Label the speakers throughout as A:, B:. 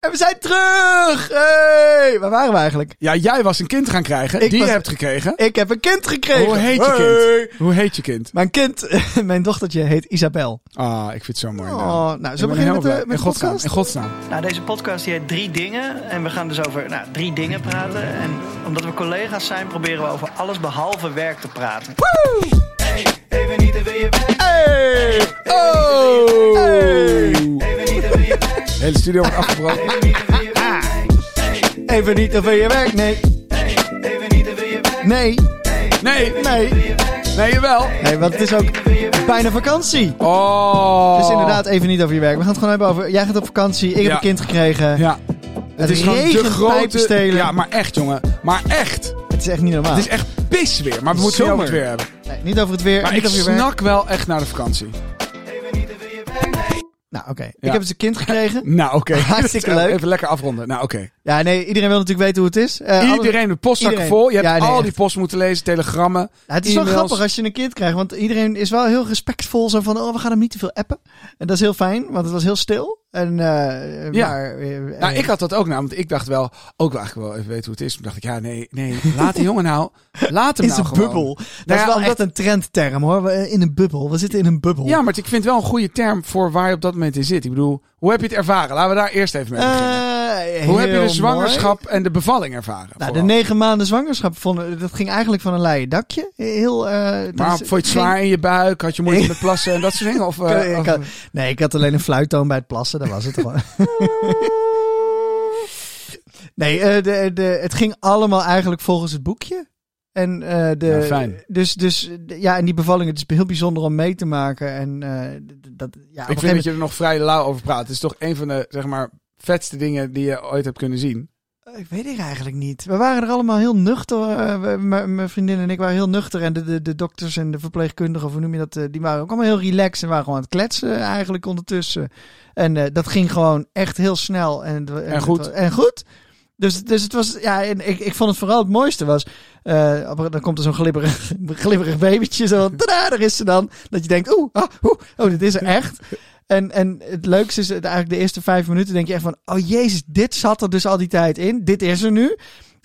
A: En we zijn terug! Hey! Waar waren we eigenlijk?
B: Ja, jij was een kind gaan krijgen.
A: Ik
B: die
A: was-
B: je hebt gekregen.
A: Ik heb een kind gekregen!
B: Hoe Oh, heet je
A: Hey!
B: kind? Hoe heet je kind?
A: Mijn kind, mijn dochtertje, heet Isabel.
B: Ah, ik vind het zo mooi.
A: Oh, nou, zullen we beginnen met de- met de
B: In godsnaam,
A: podcast?
B: in godsnaam.
C: Nou, deze podcast die heet Drie Dingen. En we gaan dus over nou, drie dingen praten. En omdat we collega's zijn, proberen we over alles behalve werk te praten. Even niet en wil je weg.
A: Hey!
B: Oh!
C: Even niet en wil je weg.
B: De hele studio wordt afgebroken.
C: Even niet en wil je weg.
A: Even niet over je werk, nee.
C: Even niet en wil je weg.
A: Nee,
B: Nee,
A: nee.
B: nee, jawel.
A: Nee, want het is ook bijna vakantie.
B: Oh.
A: Dus inderdaad, even niet over je werk. We gaan het gewoon hebben over... Jij gaat op vakantie, ik heb
B: Ja.
A: een kind gekregen.
B: Ja.
A: Het,
B: Het is gewoon
A: regent,
B: de grote...
A: pijpenstelen.
B: Ja, maar echt, jongen. Maar echt.
A: Het is echt niet normaal.
B: Het is echt pis weer. Ah. Maar we moeten het
A: Zomer.
B: over het weer hebben.
A: Nee, niet over het weer,
B: Maar
A: niet
B: ik
A: over je werk.
B: snak wel echt naar de vakantie.
A: Nou, oké. Ik
B: Ja.
A: heb dus een kind gekregen.
B: Nou, oké.
A: Hartstikke leuk.
B: Even lekker afronden. Nou, oké.
A: Ja, nee, iedereen wil natuurlijk weten hoe het is. Eh, alle-
B: Iedereen de postzakken
A: Iedereen.
B: vol. Je hebt
A: Ja, nee,
B: al
A: echt.
B: die post moeten lezen, telegrammen.
A: Ja, het is wel
B: e-mails.
A: grappig als je een kind krijgt, want iedereen is wel heel respectvol. Zo van, oh, we gaan hem niet te veel appen. En dat is heel fijn, want het was heel stil. En, eh
B: Ja.
A: Maar, eh,
B: Nou,
A: eh,
B: ik had dat ook nou, want ik dacht wel, ook wel eigenlijk wel even weten hoe het is. Toen dacht ik, ja, nee, nee, laat die jongen nou, laat hem
A: in
B: nou
A: zijn
B: gewoon.
A: bubbel. Dat
B: ja,
A: is wel
B: omdat-
A: echt een trendterm, hoor. We- eh, In een bubbel. We zitten in een bubbel.
B: Ja, maar ik vind het wel een goede term voor waar je op dat moment in zit. Ik bedoel, hoe heb je het ervaren? Laten we daar eerst even mee beginnen.
A: Eh,
B: hoe
A: heel
B: heb je de
A: mooi.
B: zwangerschap en de bevalling ervaren?
A: Nou, de
B: vooral?
A: negen maanden zwangerschap vonden, dat ging eigenlijk van een leien dakje. Heel, eh, dat
B: maar
A: is-
B: vond je
A: ging-
B: het zwaar in je buik? Had je moeite met plassen en dat soort dingen? Of, eh,
A: Ik- ik
B: of-
A: had- nee, ik had alleen een fluittoon bij het plassen. Dat was het gewoon. nee, eh, de, de, het ging allemaal eigenlijk volgens het boekje. En, eh, de,
B: Ja, fijn.
A: Dus, dus eh, de- ja, en die bevalling, het is heel bijzonder om mee te maken. En eh, d- d- dat, ja, op een
B: ik
A: gegeven
B: vind dat je er nog vrij lauw over praat. Het is toch een van de, zeg maar, vetste dingen die je ooit hebt kunnen zien.
A: Eh, Ik weet het eigenlijk niet. We waren er allemaal heel nuchter. eh, we- m- Mijn vriendin en ik waren heel nuchter. En de, de, de dokters en de verpleegkundigen, of hoe noem je dat, eh, die waren ook allemaal heel relaxed. En waren gewoon aan het kletsen eigenlijk ondertussen. En eh, dat ging gewoon echt heel snel. En, het wa-
B: En goed.
A: het wa- en goed. Dus, dus het was, ja, en ik, ik vond het vooral het mooiste was, eh, op- dan komt er zo'n glibberig, glibberig babytje, zo, van, tadaa, daar is ze dan. Dat je denkt, oeh, ah, oeh, oh, dit is er echt. En, en het leukste is het eigenlijk de eerste vijf minuten denk je echt van... Oh jezus, dit zat er dus al die tijd in. Dit is er nu.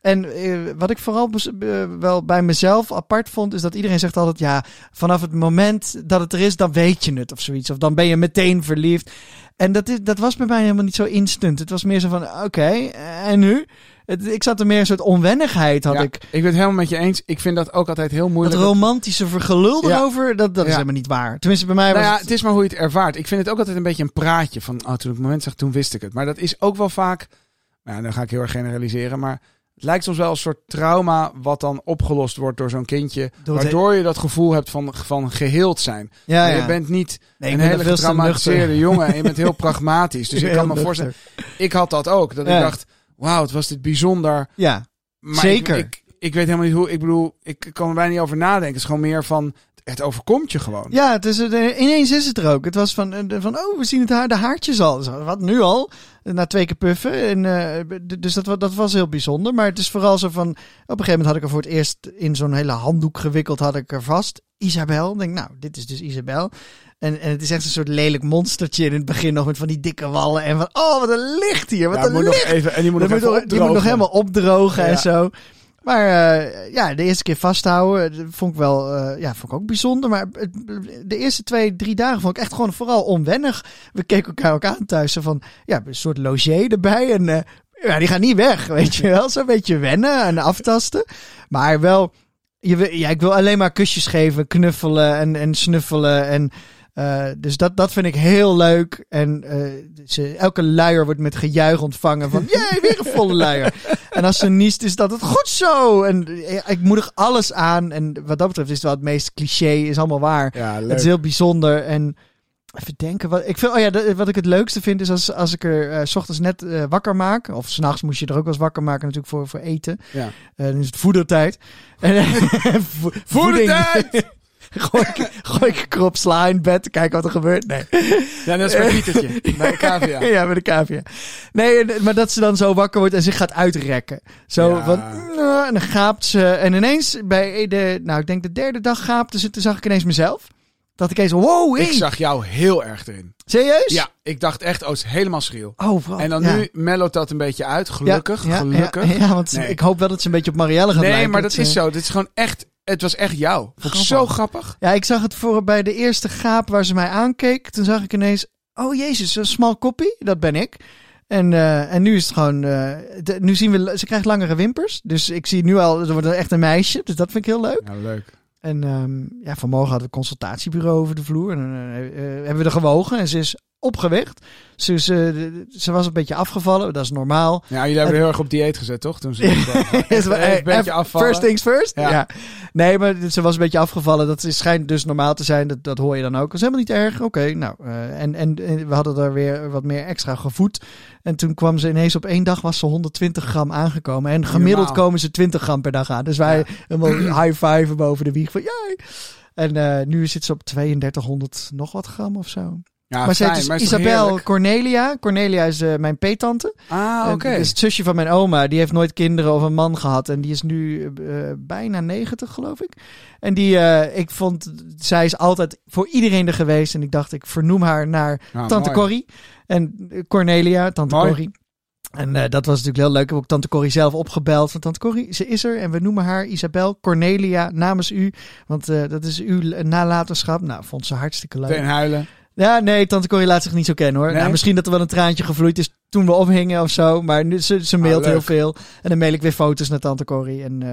A: En eh, wat ik vooral bes- eh, wel bij mezelf apart vond... is dat iedereen zegt altijd... Ja, vanaf het moment dat het er is, dan weet je het of zoiets. Of dan ben je meteen verliefd. En dat, is, dat was bij mij helemaal niet zo instant. Het was meer zo van, oké, eh, en nu? Het, ik zat er meer een soort onwennigheid, had
B: Ja,
A: ik.
B: ik ben het helemaal met je eens. Ik vind dat ook altijd heel
A: Dat
B: moeilijk.
A: romantische vergelul
B: Ja.
A: erover, dat, dat is
B: Ja.
A: helemaal niet waar. Tenminste, bij mij was
B: Nou ja,
A: het...
B: het is maar hoe je het ervaart. Ik vind het ook altijd een beetje een praatje van, oh, toen ik het moment zag, toen wist ik het. Maar dat is ook wel vaak, nou, dan ga ik heel erg generaliseren, maar het lijkt soms wel een soort trauma wat dan opgelost wordt door zo'n kindje,
A: Door de-
B: waardoor je dat gevoel hebt van, van geheeld zijn.
A: Ja,
B: Maar
A: ja.
B: Je bent niet
A: Nee, ik
B: een
A: ben
B: hele
A: er veel te
B: getraumatiseerde jongen en je bent heel pragmatisch. Dus ik kan me
A: Heel
B: voorstellen,
A: nuchter.
B: ik had dat ook, dat
A: Ja.
B: ik dacht, wauw, het was dit bijzonder.
A: Ja.
B: Maar
A: Zeker.
B: Ik, ik, ik weet helemaal niet hoe, ik bedoel, ik kan er bijna niet over nadenken. Het is gewoon meer van, het overkomt je gewoon.
A: Ja, het is, het- eh, ineens is het er ook. Het was van, eh, de- van oh, we zien het haar, de haartjes al. Zo, Wat nu al? Na twee keer puffen. En, eh, d- dus dat, wa- dat was heel bijzonder. Maar het is vooral zo van. Op een gegeven moment had ik er voor het eerst in zo'n hele handdoek gewikkeld, had ik er vast. Isabel. Ik denk, nou, dit is dus Isabel. En, en het is echt een soort lelijk monstertje in het begin nog met van die dikke wallen. En van, oh, wat een licht hier. Wat
B: Ja,
A: een
B: moet
A: licht.
B: nog even, en die moet nog
A: Dan
B: even
A: moet nog- die moet nog
B: opdrogen.
A: helemaal opdrogen
B: Ja.
A: en zo. Maar eh, ja, de eerste keer vasthouden eh, dat vond ik wel eh, ja, vond ik ook bijzonder. Maar het- de eerste twee, drie dagen vond ik echt gewoon vooral onwennig. We keken elkaar ook aan thuis. Zo van, ja, een soort logier erbij. En eh, ja, die gaan niet weg, weet je wel. Zo'n beetje wennen en aftasten. Maar wel, je, wil- ja, ik wil alleen maar kusjes geven, knuffelen en, en snuffelen. En, eh, dus dat, dat vind ik heel leuk. En eh, ze, elke luier wordt met gejuich ontvangen van... Jee, weer een volle luier. en als ze niest, is dat het goed zo. En eh, ik moedig alles aan. En wat dat betreft is het wel het meest cliché, is allemaal waar.
B: Ja, leuk.
A: Het is heel bijzonder en even denken. Wat ik, vind, oh ja, dat- wat ik het leukste vind is als, als ik er eh, 's ochtends net eh, wakker maak. Of s'nachts moest je er ook wel eens wakker maken natuurlijk voor, voor eten.
B: Ja.
A: Eh, dan is het voedertijd. En, eh, vo- voeding.
B: tijd!
A: gooi, ik, gooi ik een krop sla in bed, kijk wat er gebeurt. Nee.
B: Ja, net als bij Pietertje. Bij de
A: Ja,
B: KVA.
A: met de cavia. Nee, en- maar dat ze dan zo wakker wordt en zich gaat uitrekken. Zo,
B: Ja.
A: van, eh, en nou, dan gaapt ze. En ineens bij de, nou ik denk de derde dag gaapte ze, toen zag ik ineens mezelf. Dat ik eens, wow, hey.
B: Ik zag jou heel erg erin.
A: serieus?
B: Ja, ik dacht echt, oh, het is helemaal schreeuw.
A: Oh, vooral.
B: En dan
A: ja.
B: nu mellowt dat een beetje uit, gelukkig,
A: Ja, ja,
B: gelukkig.
A: Ja, ja, want
B: Nee.
A: ik hoop wel dat ze een beetje op Marielle gaan
B: Nee,
A: lijken,
B: maar dat
A: ze-
B: is zo. Dit is gewoon echt, het was echt jou. Vond ik zo grappig.
A: Ja, ik zag het voor, bij de eerste gaap waar ze mij aankeek. Toen zag ik ineens, oh jezus, een smal koppie, dat ben ik. En, eh, en nu is het gewoon, eh, de- nu zien we, ze krijgt langere wimpers. Dus ik zie nu al, ze wordt echt een meisje. Dus dat vind ik heel leuk.
B: Ja, leuk.
A: En ehm, ja, vanmorgen hadden we een consultatiebureau over de vloer. En eh, eh, hebben we er gewogen en ze is opgewicht. Ze, is, eh, de- ze was een beetje afgevallen, dat is normaal.
B: Ja, jullie hebben
A: En-
B: er heel erg op dieet gezet, toch? Toen ze echt
A: Is wel-
B: een beetje
A: eh,
B: afvallen.
A: First things first. Ja.
B: Ja.
A: Nee, maar ze was een beetje afgevallen. Dat is, schijnt dus normaal te zijn. Dat, dat hoor je dan ook. Dat is helemaal niet erg. Oké, nou. eh, en, en, en we hadden daar weer wat meer extra gevoed. En toen kwam ze ineens op één dag was ze 120 gram aangekomen. En gemiddeld
B: Normaal.
A: komen ze 20 gram per dag aan. Dus wij helemaal high five boven de wieg van jij. En eh, nu zit ze op 3200 nog wat gram of zo.
B: Ja,
A: maar ze heet
B: fijn,
A: dus
B: maar is toch
A: Isabel
B: heerlijk?
A: Cornelia. Cornelia is eh, mijn peetante.
B: Ah, oké.
A: En dus dat is het zusje van mijn oma. Die heeft nooit kinderen of een man gehad. En die is nu eh, bijna 90, geloof ik. En die, eh, ik vond, zij is altijd voor iedereen er geweest. En ik dacht, ik vernoem haar naar
B: Nou,
A: Tante
B: mooi.
A: Corrie. En eh, Cornelia, Tante
B: Mooi.
A: Corrie. En eh, dat was natuurlijk heel leuk. Ik heb ook Tante Corrie zelf opgebeld. Van Tante Corrie, ze is er. En we noemen haar Isabel Cornelia namens u. Want eh, dat is uw nalatenschap. Nou, vond ze hartstikke leuk.
B: Meteen huilen.
A: Ja, nee, tante Corrie laat zich niet zo kennen hoor.
B: Nee?
A: Nou, misschien dat er wel een traantje gevloeid is toen we ophingen of zo. Maar nu, ze, ze mailt
B: Ah, leuk.
A: heel veel. En dan mail ik weer foto's naar tante Corrie. En, eh,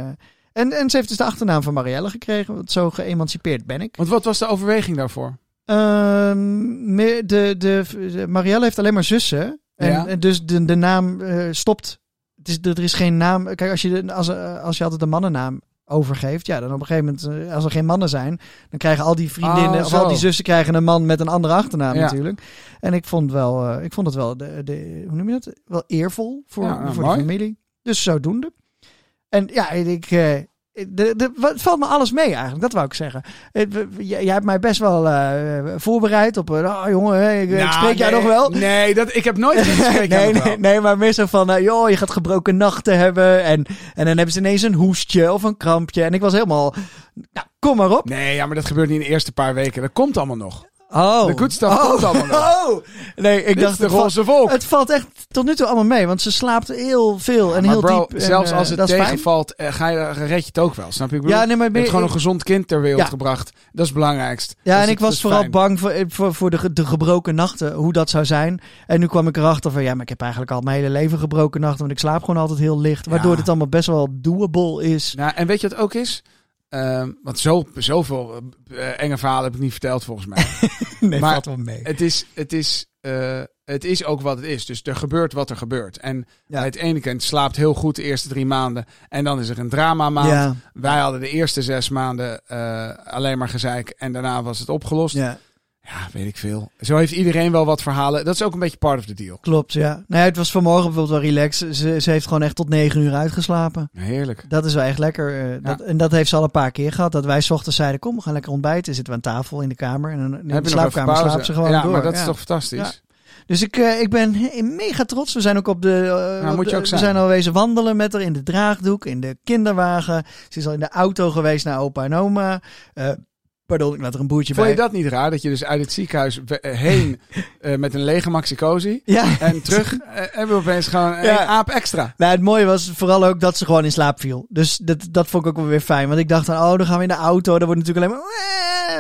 A: en, en ze heeft dus de achternaam van Marielle gekregen. Want zo geëmancipeerd ben ik.
B: Want wat was de overweging daarvoor?
A: Ehm, me- de, de, de- Marielle heeft alleen maar zussen. En,
B: Ja.
A: en dus de, de naam eh, stopt. Het is, er is geen naam. Kijk, als je, de- als, eh, als je altijd de mannennaam overgeeft, ja, dan op een gegeven moment, eh, als er geen mannen zijn, dan krijgen al die vriendinnen
B: Oh,
A: of
B: zo.
A: al die zussen krijgen een man met een andere achternaam
B: Ja.
A: natuurlijk. En ik vond wel, eh, ik vond het wel, de, de, hoe noem je dat? Wel eervol voor,
B: Ja, nou,
A: voor de
B: mooi.
A: familie. Dus zodoende. En ja, ik, eh, de, de, wat- het valt me alles mee eigenlijk, dat wou ik zeggen. Het- we- we- Jij jij hebt mij best wel eh, voorbereid op. eh, oh jongen, hè, ik, ik
B: Nou,
A: spreek jou
B: nee,
A: nog wel.
B: Nee, dat, ik heb nooit gezegd, ik spreek jou
A: nee,
B: nog
A: nee,
B: wel.
A: nee, maar meer zo van, eh, joh, je gaat gebroken nachten hebben. En, en dan hebben ze ineens een hoestje of een krampje. En ik was helemaal, nou, kom maar op.
B: Nee, ja, maar dat gebeurt niet in de eerste paar weken. Dat komt allemaal nog.
A: Oh.
B: De good stuff
A: oh.
B: komt allemaal nog.
A: Oh. Nee, ik
B: Dit
A: dacht,
B: is de
A: het, valt,
B: roze wolk.
A: het valt echt tot nu toe allemaal mee. Want ze slaapt heel veel en
B: maar
A: heel
B: bro,
A: diep. en,
B: zelfs
A: eh,
B: als het
A: dat is fijn.
B: tegenvalt, eh, ga je, red je het ook wel. Snap je? Ik bedoel,
A: Ja, nee, maar
B: je hebt
A: meer-
B: gewoon een gezond kind ter wereld
A: Ja.
B: gebracht. Dat is het belangrijkst.
A: Ja,
B: Dus
A: en ik
B: het
A: was
B: is
A: vooral
B: fijn.
A: bang voor, eh, voor, voor de, ge- de gebroken nachten, hoe dat zou zijn. En nu kwam ik erachter van, ja, maar ik heb eigenlijk al mijn hele leven gebroken nachten, want ik slaap gewoon altijd heel licht. Waardoor
B: Ja.
A: dit allemaal best wel doable is.
B: Nou, en weet je wat ook is? Ehm, want zo, zoveel eh, enge verhalen heb ik niet verteld volgens mij.
A: Nee,
B: Maar-
A: wel mee.
B: het, is, het, is, eh, het is ook wat het is. Dus er gebeurt wat er gebeurt. En
A: Ja.
B: het ene kind slaapt heel goed de eerste drie maanden. En dan is er een drama maand.
A: Ja,
B: Wij hadden de eerste zes maanden eh, alleen maar gezeik. En daarna was het opgelost.
A: ja,
B: Ja, weet ik veel. Zo heeft iedereen wel wat verhalen. Dat is ook een beetje part of the deal.
A: klopt, ja. Nou ja, het was vanmorgen bijvoorbeeld wel relaxed. Ze, ze heeft gewoon echt tot negen uur uitgeslapen.
B: Heerlijk.
A: Dat is wel echt lekker. eh, dat, En dat heeft ze al een paar keer gehad. Dat wij 's ochtends zeiden, kom, we gaan lekker ontbijten. Zitten we aan tafel in de kamer. En dan- in
B: Heb
A: de
B: je nog even
A: slaapkamer
B: pauze?
A: slaapt ze gewoon
B: ja,
A: door.
B: maar dat
A: ja.
B: is toch fantastisch.
A: Dus ik, eh, ik ben he- mega trots. We zijn ook op de. eh, op
B: moet je
A: de-
B: ook zijn.
A: We zijn al wezen wandelen met haar in de draagdoek, in de kinderwagen. Ze is al in de auto geweest naar opa en oma. Eh, pardon, ik laat er een boertje
B: Vond
A: bij.
B: je dat niet raar? Dat je dus uit het ziekenhuis we- eh, heen eh, met een lege maxicosi.
A: Ja.
B: En terug eh, hebben we opeens gewoon een
A: Ja.
B: aap extra.
A: Nou, het mooie was vooral ook dat ze gewoon in slaap viel. Dus dat, dat vond ik ook wel weer fijn. Want ik dacht dan, oh, dan gaan we in de auto. Dan wordt natuurlijk alleen maar...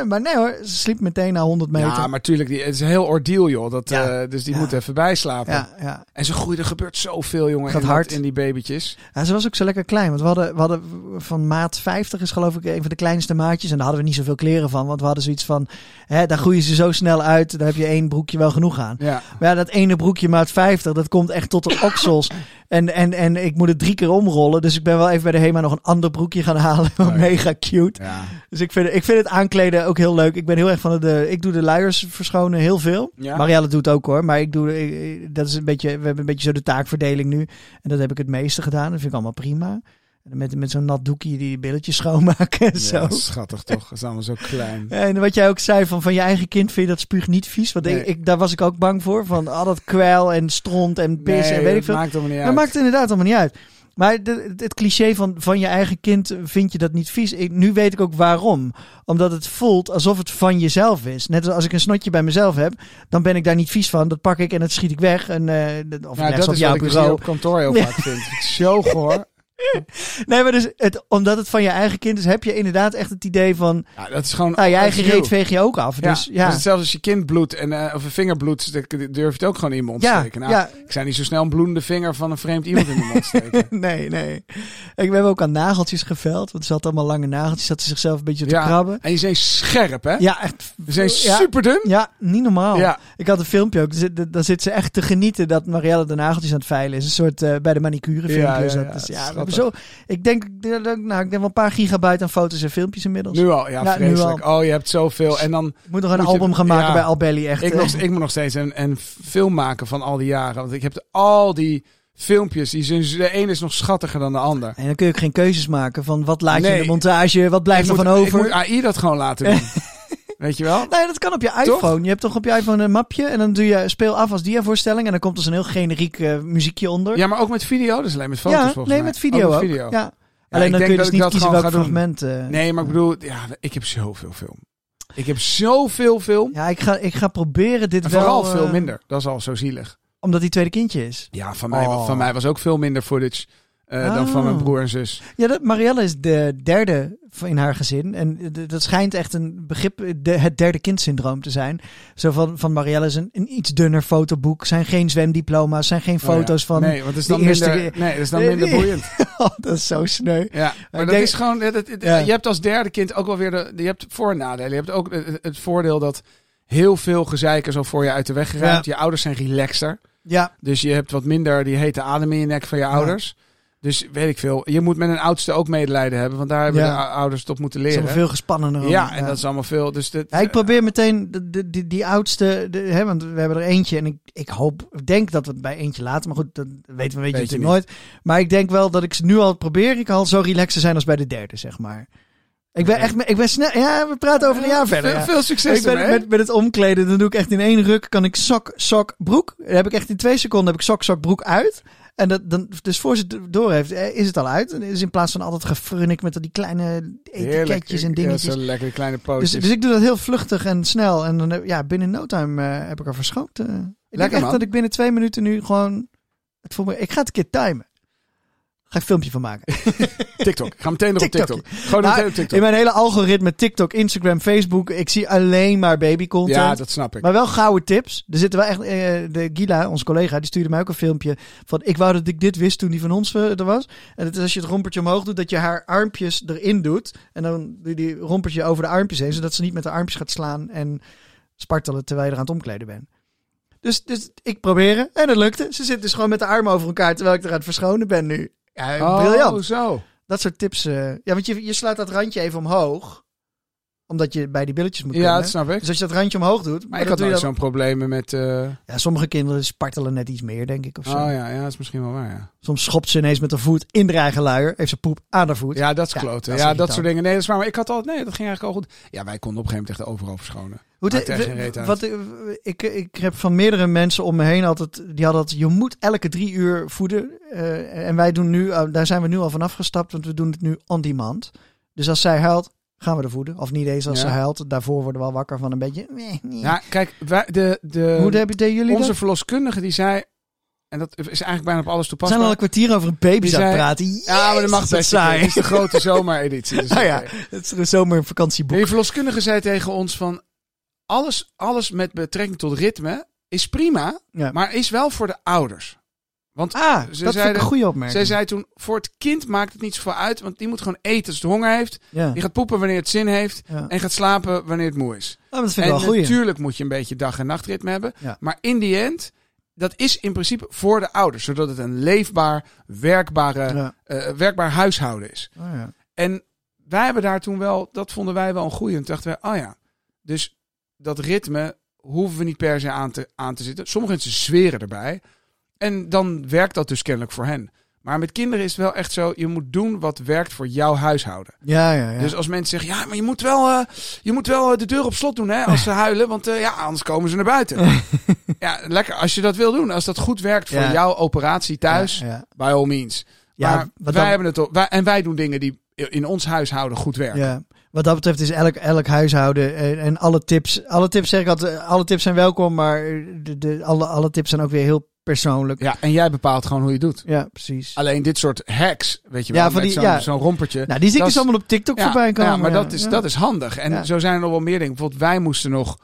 A: Maar nee hoor, ze sliep meteen na 100 meter.
B: Ja, maar tuurlijk. Die, het is een heel ordeal, joh. Dat,
A: Ja.
B: eh, dus die
A: Ja.
B: moet even bijslapen.
A: ja, ja.
B: En ze groeien, er gebeurt zoveel, jongen.
A: Gaat
B: in dat-
A: hard.
B: In die babytjes.
A: Ja, ze was ook zo lekker klein. Want we hadden, we hadden van maat 50 is geloof ik een van de kleinste maatjes. En daar hadden we niet zoveel kleren van. Want we hadden zoiets van, hè, daar groeien ze zo snel uit. Daar heb je één broekje wel genoeg aan.
B: Ja.
A: Maar ja, dat ene broekje maat 50, dat komt echt tot de oksels. En, en, en ik moet het drie keer omrollen. Dus ik ben wel even bij de HEMA nog een ander broekje gaan halen.
B: Leuk.
A: Mega cute.
B: Ja.
A: Dus ik vind, ik vind het aankleden ook heel leuk. Ik ben heel erg van de- de. Ik doe de luiers verschonen heel veel.
B: Ja.
A: Marielle doet ook hoor. Maar ik doe. ik- ik- dat is een beetje. We hebben een beetje zo de taakverdeling nu. En dat heb ik het meeste gedaan. Dat vind ik allemaal prima. En Met, met zo'n nat doekje die billetjes schoonmaken en zo.
B: Ja, schattig toch? Dat is allemaal zo klein.
A: En wat jij ook zei van, van je eigen kind vind je dat spuug niet vies. Want ik-
B: Nee.
A: ik, daar was ik ook bang voor. Van al dat kwel en stront en pis en
B: Nee,
A: weet ik
B: dat
A: veel.
B: maakt allemaal niet
A: Dat
B: uit.
A: maakt inderdaad allemaal niet uit. Maar de- het cliché van, van je eigen kind vind je dat niet vies. Ik, nu weet ik ook waarom. Omdat het voelt alsof het van jezelf is. Net als als ik een snotje bij mezelf heb, dan ben ik daar niet vies van. Dat pak ik en dat schiet ik weg. En, eh, dat- of ik leg ze
B: Nou, dat
A: op
B: is wat
A: jouw
B: ik dus hier
A: bureau.
B: op kantoor heel
A: Ja.
B: vaak vind. Het is Zo goor.
A: Nee, maar dus het, omdat het van je eigen kind is, heb je inderdaad echt het idee van...
B: Ja, dat is gewoon...
A: Nou, je eigen
B: that's you.
A: reet veeg je ook af.
B: Ja,
A: Dus
B: dat is
A: ja.
B: hetzelfde als je kind bloedt en, eh, of een vinger bloedt, dan durf je het ook gewoon in je mond te
A: Ja,
B: steken. Nou,
A: ja,
B: Ik zou niet zo snel een bloedende vinger van een vreemd iemand in de mond steken.
A: nee, nee. Ik, we hebben ook aan nageltjes geveld. Want ze had allemaal lange nageltjes. Zat ze zichzelf een beetje te
B: Ja.
A: krabben.
B: En je zijn scherp, hè?
A: Ja, echt.
B: Ze zijn
A: ja. Oh.
B: super dun.
A: Ja, niet normaal.
B: Ja.
A: Ik had een filmpje ook. Dus, d- Dan zit ze echt te genieten dat Marielle de nageltjes aan het veilen is. Een soort eh, bij de manicure filmpje.
B: Ja, ja,
A: is dat.
B: ja,
A: Dus
B: het is
A: ja, we hebben
B: grappig.
A: zo, ik, denk, nou, ik denk wel een paar gigabyte aan foto's en filmpjes inmiddels.
B: Nu al, ja,
A: Ja, nu
B: vreselijk. Oh, je hebt zoveel. En dan,
A: Ik moet nog een
B: Moet je-
A: album gaan maken
B: ja.
A: bij Albelly. Echt.
B: ik,
A: eh.
B: nog, ik moet nog steeds een, een film maken van al die jaren. Want ik heb al die filmpjes, die zijn, de een is nog schattiger dan de ander.
A: En dan kun je ook geen keuzes maken van wat laat je in
B: Nee.
A: de montage, wat blijft er
B: ik moet,
A: van
B: Ik
A: over.
B: moet AI dat gewoon laten doen. Weet je wel?
A: Nee, dat kan op je iPhone. Je hebt toch op je iPhone een mapje en dan doe je speel af als diavoorstelling en dan komt dus een heel generiek eh, muziekje onder.
B: Ja, maar ook met video. Dus alleen met foto's
A: Ja,
B: volgens
A: nee,
B: mij. Oh,
A: met video ook.
B: met video.
A: Ja. Alleen dan
B: ik denk
A: kun je
B: dat
A: dus
B: ik
A: niet
B: dat
A: kiezen
B: gewoon
A: welk
B: ga doen.
A: fragment. eh,
B: Nee, maar ik bedoel, ja, ik heb zoveel film. Ik heb zoveel film.
A: Ja, ik ga, ik ga proberen dit
B: En
A: wel.
B: vooral
A: eh,
B: veel minder. Dat is al zo zielig.
A: Omdat hij tweede kindje is.
B: Ja, van mij,
A: Oh.
B: van mij was ook veel minder footage eh, dan
A: Ah.
B: van mijn broer en zus. Oh,
A: Ja, dat, Marielle is de derde van- in haar gezin. En eh, d- dat schijnt echt een begrip, eh, de, het derde kindsyndroom te zijn. Zo van, van Marielle is een, een iets dunner fotoboek. Zijn geen zwemdiploma's, zijn geen foto's
B: Oh ja.
A: van...
B: Nee, want dat is
A: de
B: dan
A: eerste
B: minder,
A: keer.
B: nee, dat is dan
A: Nee,
B: minder
A: die-
B: boeiend.
A: Oh, dat is zo sneu.
B: Ja, maar
A: Ik
B: dat
A: denk-
B: is gewoon. Dat, dat-
A: Ja.
B: Je hebt als derde kind ook wel weer de. Je hebt voor- en nadelen. Je hebt ook het, het voordeel dat heel veel gezeik is al voor je uit de weg geruimd. Je ouders zijn relaxter.
A: Ja,
B: Dus je hebt wat minder die hete adem in je nek van je ouders. Dus weet ik veel. Je moet met een oudste ook medelijden hebben. Want daar hebben
A: Ja.
B: de ou- ouders tot moeten
A: dat is
B: leren.
A: allemaal veel eh, gespannener.
B: ja, en
A: Ja.
B: dat is allemaal veel. Dus dit,
A: Ja, ik probeer meteen de, de- die, die oudste, de, hè, want we hebben er eentje en ik, ik hoop, ik denk dat we het bij eentje laten, maar goed, dat weten we weet je
B: Weet je
A: natuurlijk nooit. Maar ik denk wel dat ik ze nu al probeer, ik al zo relaxed te zijn als bij de derde, zeg maar. Ik ben
B: Oké. Eh,
A: echt, ik ben snel, ja, we praten over een jaar verder.
B: Veel,
A: ja.
B: veel succes
A: Ik ben
B: ermee.
A: met, met het omkleden, dan doe ik echt in één ruk, kan ik sok, sok, broek. Dan heb ik echt in twee seconden heb ik sok, sok, broek uit. En dat, dan, dus voor ze het door heeft, eh, is het al uit. En is in plaats van altijd gefrunnik met al die kleine
B: Heerlijk.
A: etiketjes en
B: Ja,
A: dingetjes.
B: zo'n lekkere kleine pootjes.
A: Dus, dus ik doe dat heel vluchtig en snel. En dan heb, ja, binnen no time eh, heb ik er verschoond. eh. ik denk
B: Lekker,
A: echt
B: man.
A: dat ik binnen twee minuten nu gewoon... Het voelt me, ik ga het een keer timen. Ga ik een filmpje van maken.
B: TikTok. Ik ga meteen nog op
A: TikTok.
B: TikTok. Gewoon
A: Nou,
B: meteen op TikTok.
A: In mijn hele algoritme, TikTok, Instagram, Facebook... Ik zie alleen maar babycontent.
B: Ja, dat snap ik.
A: Maar wel gouden tips. Er zitten wel echt. eh, de Gila, onze collega, die stuurde mij ook een filmpje. Van ik wou dat ik dit wist toen die van ons eh, er was. En het is als je het rompertje omhoog doet, dat je haar armpjes erin doet. En dan doe je die rompertje over de armpjes heen. Zodat ze niet met de armpjes gaat slaan en spartelen terwijl je er aan het omkleden bent. Dus, dus ik proberen. En het lukte. Ze zit dus gewoon met de armen over elkaar terwijl ik er aan het verschonen ben nu. Ja, briljant.
B: Oh, zo.
A: Dat soort tips. eh, ja, want je, je slaat dat randje even omhoog. Omdat je bij die billetjes moet
B: Ja,
A: kunnen.
B: dat snap ik.
A: Dus als je dat randje omhoog doet.
B: Maar
A: dan
B: ik had
A: doe je
B: nooit
A: dat-
B: zo'n problemen met... eh,
A: ja, sommige kinderen spartelen net iets meer, denk ik. Of zo.
B: Oh ja, ja, dat is misschien wel waar, ja.
A: Soms schopt ze ineens met haar voet in de eigen luier. Heeft ze poep aan haar voet.
B: Ja, dat is
A: Ja,
B: kloten.
A: dat
B: Ja,
A: is
B: dat,
A: irritant.
B: soort dingen. Nee, dat is waar. Maar ik had altijd... Nee, dat ging eigenlijk al goed. Ja, wij konden op een gegeven moment echt overal verschonen.
A: Hoe de-
B: maakt echt geen reet uit.
A: wat, ik, ik heb van meerdere mensen om me heen altijd... Die hadden dat, je moet elke drie uur voeden. Eh, en wij doen nu, eh, daar zijn we nu al van afgestapt. Want we doen het nu on demand. Dus als zij huilt, gaan we er voeden. Of niet eens als
B: Ja.
A: ze huilt. Daarvoor worden we al wakker van een beetje... Nee, nee.
B: Ja, kijk, wij, de, de,
A: Hoe de- deden jullie
B: onze
A: dat?
B: verloskundige die zei... En dat is eigenlijk bijna op alles
A: We zijn
B: toepasbaar.
A: al een kwartier over een
B: Die
A: baby aan het
B: zei-
A: praten.
B: ja, maar dat mag
A: Jezus,
B: best. een keer. Het is de grote zomereditie. Dus
A: Ah ja,
B: oké.
A: Het is een zomervakantieboek.
B: Nee, Die verloskundige zei tegen ons van... Alles, alles met betrekking tot ritme is prima,
A: Ja.
B: maar is wel voor de ouders. Want
A: Ah, dat vind ik
B: zeiden-
A: een goede opmerking.
B: zij zei toen, voor het kind maakt het niet zoveel uit, want die moet gewoon eten als het honger heeft.
A: ja.
B: Die gaat poepen wanneer het zin heeft.
A: Ja.
B: En gaat slapen wanneer het moe is.
A: Oh, dat vind ik
B: en
A: wel goed.
B: natuurlijk moet je een beetje dag- en nachtritme hebben.
A: Ja.
B: Maar in die end, dat is in principe voor de ouders. Zodat het een leefbaar, werkbare,
A: Ja.
B: eh, werkbaar huishouden is.
A: Oh, ja.
B: En wij hebben daar toen wel, dat vonden wij wel een goeie. En toen dachten wij, oh ja, dus dat ritme hoeven we niet per se aan te, aan te zitten. Sommige mensen zweren erbij. En dan werkt dat dus kennelijk voor hen. Maar met kinderen is het wel echt zo, je moet doen wat werkt voor jouw huishouden.
A: Ja, ja, ja.
B: Dus als mensen zeggen, ja, maar je moet wel, eh, je moet wel eh, de deur op slot doen hè, als ze huilen, want eh, ja, anders komen ze naar buiten. ja, lekker, als je dat wil doen, als dat goed werkt voor
A: Ja.
B: jouw operatie thuis,
A: Ja, ja.
B: by all means.
A: Ja,
B: maar
A: wat
B: wij
A: dan-
B: hebben het al, wij, en wij doen dingen die in ons huishouden goed werken.
A: Ja. Wat dat betreft is elk, elk huishouden en, en alle tips. Alle tips zeg ik altijd, alle tips zijn welkom, maar de, de, alle, alle tips zijn ook weer heel persoonlijk.
B: Ja, en jij bepaalt gewoon hoe je het doet.
A: Ja, precies.
B: Alleen dit soort hacks, weet je
A: Ja,
B: wel,
A: van
B: met
A: die-
B: zo'n
A: ja.
B: zo'n rompertje.
A: Nou, die zie ik
B: dat
A: dus
B: is-
A: allemaal op TikTok
B: Ja,
A: voorbij komen.
B: ja, maar dat,
A: ja.
B: is,
A: Ja.
B: dat is handig. En
A: Ja.
B: zo zijn er nog wel meer dingen. Bijvoorbeeld wij moesten nog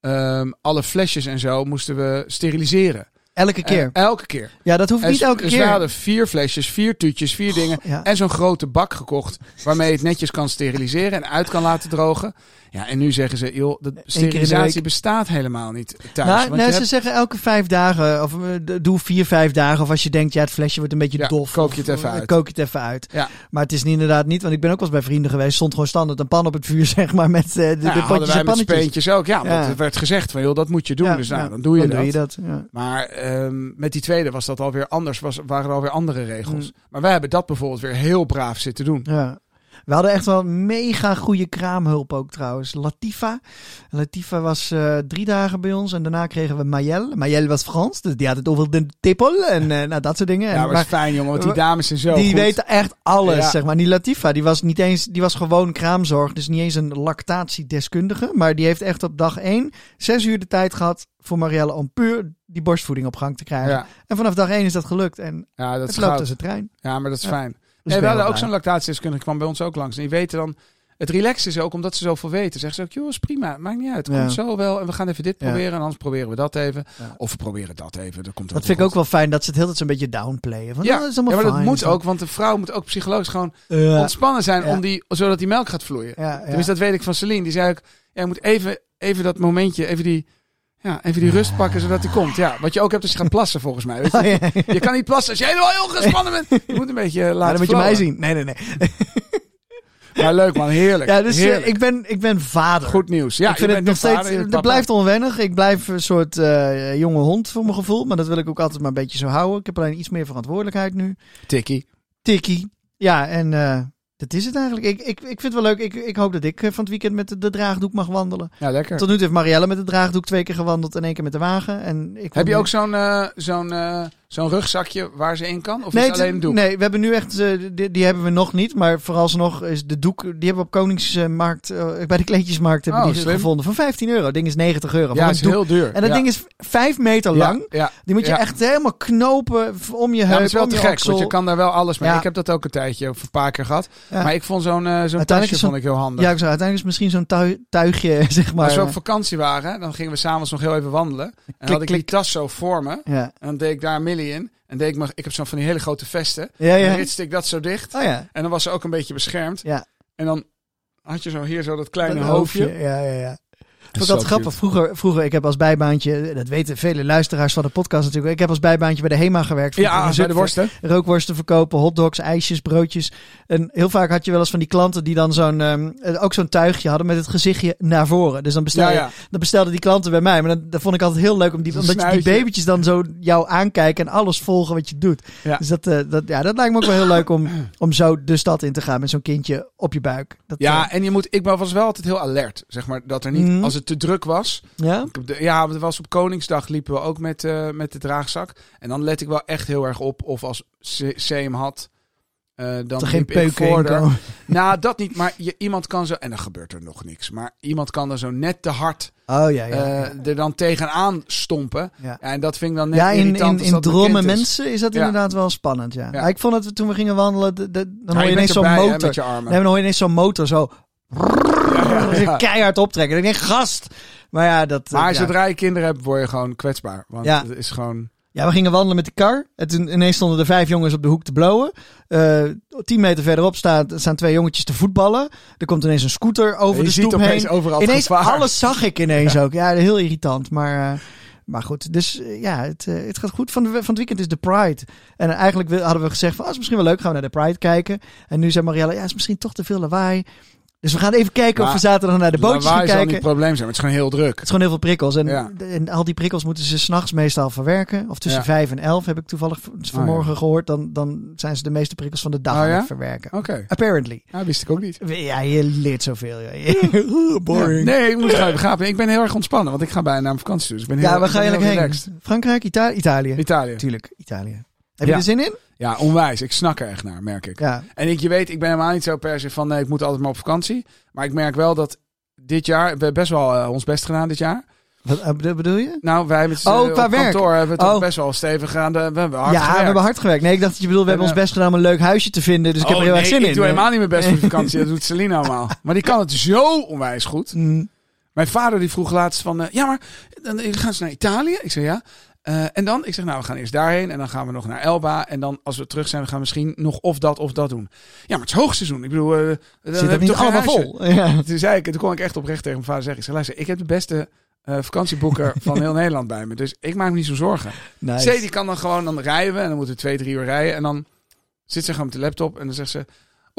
B: ehm, alle flesjes en zo moesten we steriliseren.
A: Elke keer.
B: Eh, elke keer.
A: ja, dat hoeft
B: En
A: niet
B: s-
A: elke
B: dus
A: keer. Oh,
B: we hadden vier flesjes, vier tuutjes, vier dingen.
A: ja.
B: En zo'n grote bak gekocht waarmee je het netjes kan steriliseren en uit kan laten drogen. Ja, en nu zeggen ze, joh, de sterilisatie
A: week.
B: bestaat helemaal niet thuis.
A: Nou,
B: want
A: nee,
B: je
A: ze
B: hebt-
A: zeggen elke vijf dagen, of eh, d- doe vier, vijf dagen. Of als je denkt, ja, het flesje wordt een beetje
B: Ja,
A: dof.
B: kook je
A: of,
B: het even
A: eh,
B: uit.
A: Kook je het even uit.
B: Ja.
A: Maar het is niet, inderdaad niet, want ik ben ook wel eens bij vrienden geweest. Stond gewoon standaard een pan op het vuur, zeg maar, met eh, de,
B: nou,
A: de
B: hadden
A: potjes
B: wij
A: en
B: met
A: pannetjes.
B: speentjes ook. Ja, want
A: Ja.
B: er werd gezegd van, joh, dat moet je doen.
A: Ja,
B: dus nou,
A: ja,
B: dan doe je dat.
A: ja.
B: Maar ehm, met die tweede was dat alweer anders. Was, waren er alweer andere regels.
A: Mm.
B: Maar wij hebben dat bijvoorbeeld weer heel braaf zitten doen.
A: Ja. We hadden echt wel mega goede kraamhulp ook trouwens. Latifa. Latifa was eh, drie dagen bij ons en daarna kregen we Mayel. Mayel was Frans, dus die had het over de tippel en eh, nou, dat soort dingen. En-
B: ja, maar
A: maar
B: is fijn jongen, want die dames zijn zo
A: die
B: goed.
A: weten echt alles,
B: Ja.
A: zeg maar. Die Latifa, die was, niet eens, die was gewoon kraamzorg, dus niet eens een lactatiedeskundige. Maar die heeft echt op dag één zes uur de tijd gehad voor Marielle om puur die borstvoeding op gang te krijgen.
B: Ja,
A: En vanaf dag één is dat gelukt en
B: ja, dat
A: het
B: is
A: loopt
B: goud.
A: als een trein.
B: Ja, maar dat is
A: Ja.
B: fijn.
A: Dus
B: nee,
A: ik
B: we
A: ben heel
B: hadden ook
A: blij.
B: zo'n lactatiedeskundige, kwam bij ons ook langs. En die weten dan... Het relaxen is ook omdat ze zoveel weten. Zeggen ze ook, joh, is prima. Maakt niet uit. Het
A: Ja.
B: komt zo wel. En we gaan even dit
A: Ja.
B: proberen. En anders proberen we dat even.
A: Ja.
B: Of we proberen dat even. Dat, komt
A: Dat vind ik ook wel fijn, dat ze het heel tijd zo'n beetje downplayen. Van,
B: Ja.
A: "Oh, dat is allemaal
B: Ja, maar dat
A: fijn."
B: moet ook. Want de vrouw moet ook psychologisch gewoon
A: Ja.
B: ontspannen zijn.
A: Ja.
B: Om die, zodat die melk gaat vloeien.
A: Eh, Ja, ja.
B: Tenminste, dat weet ik van Celine. Die zei ook, ja, je moet even, even dat momentje, even die, ja, even die rust pakken zodat hij komt. Ja, wat je ook hebt als je gaat plassen volgens mij. Weet je?
A: Oh, ja.
B: je kan niet plassen als je helemaal heel gespannen bent. Je moet een beetje eh, laten
A: Ja, dan moet je mij
B: flowen.
A: zien. Nee, nee, nee.
B: Maar leuk man, heerlijk.
A: Ja, dus eh,
B: heerlijk.
A: ik, ben, ik ben vader.
B: Goed nieuws. Ja,
A: ik vind
B: je
A: het
B: bent
A: nog
B: de vader,
A: steeds. eh,
B: je bent
A: Het
B: eh, papa.
A: blijft onwennig. Ik blijf een soort eh, jonge hond voor mijn gevoel. Maar dat wil ik ook altijd maar een beetje zo houden. Ik heb alleen iets meer verantwoordelijkheid nu.
B: tikkie.
A: Tikkie. Ja, en eh, dat is het eigenlijk. Ik, ik, ik vind het wel leuk. Ik, ik hoop dat ik eh, van het weekend met de, de draagdoek mag wandelen.
B: Ja, lekker.
A: Tot nu toe heeft Marielle met de draagdoek twee keer gewandeld en één keer met de wagen. En ik
B: Heb je
A: nu-
B: ook zo'n eh, zo'n eh, zo'n rugzakje waar ze in kan? Of is het
A: het-
B: alleen een doek?
A: nee, we hebben nu echt, eh, die, die hebben we nog niet. Maar vooralsnog is de doek, die hebben we op Koningsmarkt, eh, bij de kleedjesmarkt hebben we
B: Oh,
A: die
B: slim.
A: gevonden. Voor 15 euro, dat ding is 90 euro.
B: Ja,
A: Voor
B: het
A: een
B: is
A: doek.
B: heel duur.
A: En dat
B: ja.
A: ding is 5 meter lang. Eh,
B: Ja, ja.
A: Die moet je
B: Ja.
A: echt helemaal knopen v- om je
B: Ja,
A: heup,
B: maar het is wel
A: om
B: te
A: je
B: gek,
A: oksel.
B: want je kan daar wel alles mee.
A: Ja.
B: Ik heb dat ook een tijdje, of een paar keer gehad.
A: Ja.
B: Maar ik vond zo'n eh, zo'n
A: Uiteindelijk
B: tasje
A: is zo'n-
B: vond ik heel handig.
A: Ja, ik zou uiteindelijk is het misschien zo'n tui- tuigje, zeg maar. eh,
B: Als we op vakantie waren, dan gingen we s'avonds nog heel even wandelen. En dan had ik die
A: klik.
B: tas zo voor me.
A: ja.
B: En dan deed ik daar een millie in. En deed ik, maar, ik heb zo'n van die hele grote vesten.
A: Ja,
B: En
A: ja.
B: dan ritste ik dat zo dicht.
A: Oh ja.
B: En dan was ze ook een beetje beschermd.
A: Ja.
B: En dan had je zo hier zo dat kleine
A: Dat
B: hoofdje.
A: Ja, ja, ja. Ik vond
B: zo
A: dat grappig. Vroeger, vroeger, ik heb als bijbaantje, dat weten vele luisteraars van de podcast natuurlijk. Ik heb als bijbaantje bij de HEMA gewerkt. vroeger in
B: Ja, bij de
A: Zutphen.
B: worsten.
A: rookworsten verkopen, hotdogs, ijsjes, broodjes. En heel vaak had je wel eens van die klanten die dan zo'n, ehm, eh, ook zo'n tuigje hadden met het gezichtje naar voren. Dus dan, bestel
B: Ja,
A: je-
B: ja.
A: dan bestelden die klanten bij mij. Maar dan, dat vond ik altijd heel leuk, om die,
B: Zo'n
A: omdat je die
B: snuitje.
A: babytjes dan zo jou aankijken en alles volgen wat je doet.
B: Ja.
A: Dus dat, eh, dat, ja, dat lijkt me ook wel heel leuk om, om zo de stad in te gaan met zo'n kindje op je buik. Dat,
B: Ja,
A: eh,
B: en je moet, ik was wel altijd heel alert. Zeg maar dat er niet,
A: Mhm.
B: als het te druk was.
A: ja?
B: Ik heb de- Ja, want er was op Koningsdag liepen we ook met, eh, met de draagzak. En dan let ik wel echt heel erg op of als C- CM had. eh, dan
A: Dat er geen
B: liep ik
A: peuken in
B: voorder.
A: komen.
B: Nou, dat niet. Maar je, iemand kan zo... En dan gebeurt er nog niks. Maar iemand kan er zo net te hard
A: Oh ja, ja.
B: eh, er dan tegenaan stompen.
A: Ja.
B: Ja. en dat vind ik dan net
A: ja, in,
B: irritant
A: in,
B: als
A: in
B: dat bekend
A: dromen
B: is.
A: mensen is dat
B: Ja.
A: inderdaad wel spannend, ja.
B: Ja.
A: Maar ik vond dat we toen we gingen wandelen, de, de- dan
B: Ja,
A: hoor je
B: bent
A: ineens zo'n
B: erbij, hè,
A: motor.
B: met je armen.
A: Nee, maar dan hoor je ineens zo'n motor zo
B: Ja, ja, ja.
A: keihard optrekken. En ik denk, gast! Maar ja, dat... eh,
B: Maar
A: ja.
B: zodra je kinderen hebt, word je gewoon kwetsbaar. Want
A: Ja.
B: het is gewoon...
A: ja, we gingen wandelen met de kar. En toen ineens stonden er vijf jongens op de hoek te blowen. Eh tien meter verderop staat, staan twee jongetjes te voetballen. Er komt ineens een scooter over
B: je
A: de
B: ziet
A: stoep
B: opeens
A: heen.
B: overal het
A: Ineens
B: gevaar.
A: alles zag ik ineens ook. Ja, heel irritant. Maar, eh, maar goed, dus eh, ja, het, eh, het gaat goed. Van, de, van het weekend is de Pride. En eigenlijk wil- hadden we gezegd van, oh, is misschien wel leuk, gaan we naar de Pride kijken. En nu zei Marielle, ja, is misschien toch te veel lawaai. Dus we gaan even kijken of
B: Maar
A: we zaterdag naar de bootjes gaan
B: Lawaai zal niet
A: kijken.
B: het probleem zijn, maar het is gewoon heel druk.
A: Het is gewoon heel veel prikkels. En,
B: Ja.
A: en al die prikkels moeten ze s'nachts meestal verwerken. Of tussen
B: Ja.
A: vijf en elf heb ik toevallig v- vanmorgen gehoord. Dan, dan zijn ze de meeste prikkels van de dag
B: Oh
A: aan
B: ja?
A: het verwerken.
B: Oké,
A: Apparently.
B: ja, wist ik ook niet.
A: Ja, je leert zoveel. joh. Boring.
B: Nee, ik moet gaan begapen. Ik ben heel erg ontspannen, want ik ga bijna naar vakantie. Dus ik ben heel,
A: Ja, waar
B: ik
A: ga
B: ben
A: je
B: heel
A: eigenlijk
B: relaxed.
A: heen? Frankrijk, Ita- Italië?
B: Italië.
A: Natuurlijk, Italië. Heb
B: Ja.
A: je er zin in?
B: Ja, onwijs. Ik snak er echt naar, merk ik.
A: Ja,
B: En ik, je weet, ik ben helemaal niet zo per se van nee, ik moet altijd maar op vakantie. Maar ik merk wel dat dit jaar, we hebben best wel eh, ons best gedaan dit jaar.
A: wat eh, bedo- bedoel je?
B: Nou, wij hebben het
A: Oh,
B: eh,
A: qua
B: op
A: werk.
B: kantoor hebben we het
A: Oh.
B: toch best wel stevig gedaan. De- We hebben hard
A: ja,
B: gewerkt.
A: we hebben hard gewerkt. Nee, ik dacht dat je bedoelde, we
B: En,
A: hebben ons best gedaan om een leuk huisje te vinden. Dus ik heb
B: Oh,
A: er heel
B: nee,
A: erg zin in.
B: Ik doe helemaal niet mijn best voor de vakantie. Dat doet Celine allemaal. Maar die kan het zo onwijs goed.
A: Mm.
B: Mijn vader die vroeg laatst van... eh, ja, maar dan eh, gaan ze naar Italië? Ik zei ja. Eh, en dan? Ik zeg nou, we gaan eerst daarheen. En dan gaan we nog naar Elba. En dan als we terug zijn, we gaan misschien nog of dat of dat doen. Ja, maar het is hoogseizoen. Ik bedoel... eh,
A: Zit
B: dan heb
A: dat
B: ik
A: niet
B: toch geen
A: allemaal
B: huisje.
A: vol? Ja.
B: Toen zei ik, toen kon ik echt oprecht tegen mijn vader zeggen. Ik zei, luister, ik heb de beste... eh, vakantieboeker van heel Nederland bij me. Dus ik maak me niet zo zorgen.
A: Nice.
B: Zee die kan dan gewoon, dan rijden we en dan moeten we twee, drie uur rijden. En dan zit ze gewoon op de laptop en dan zegt ze...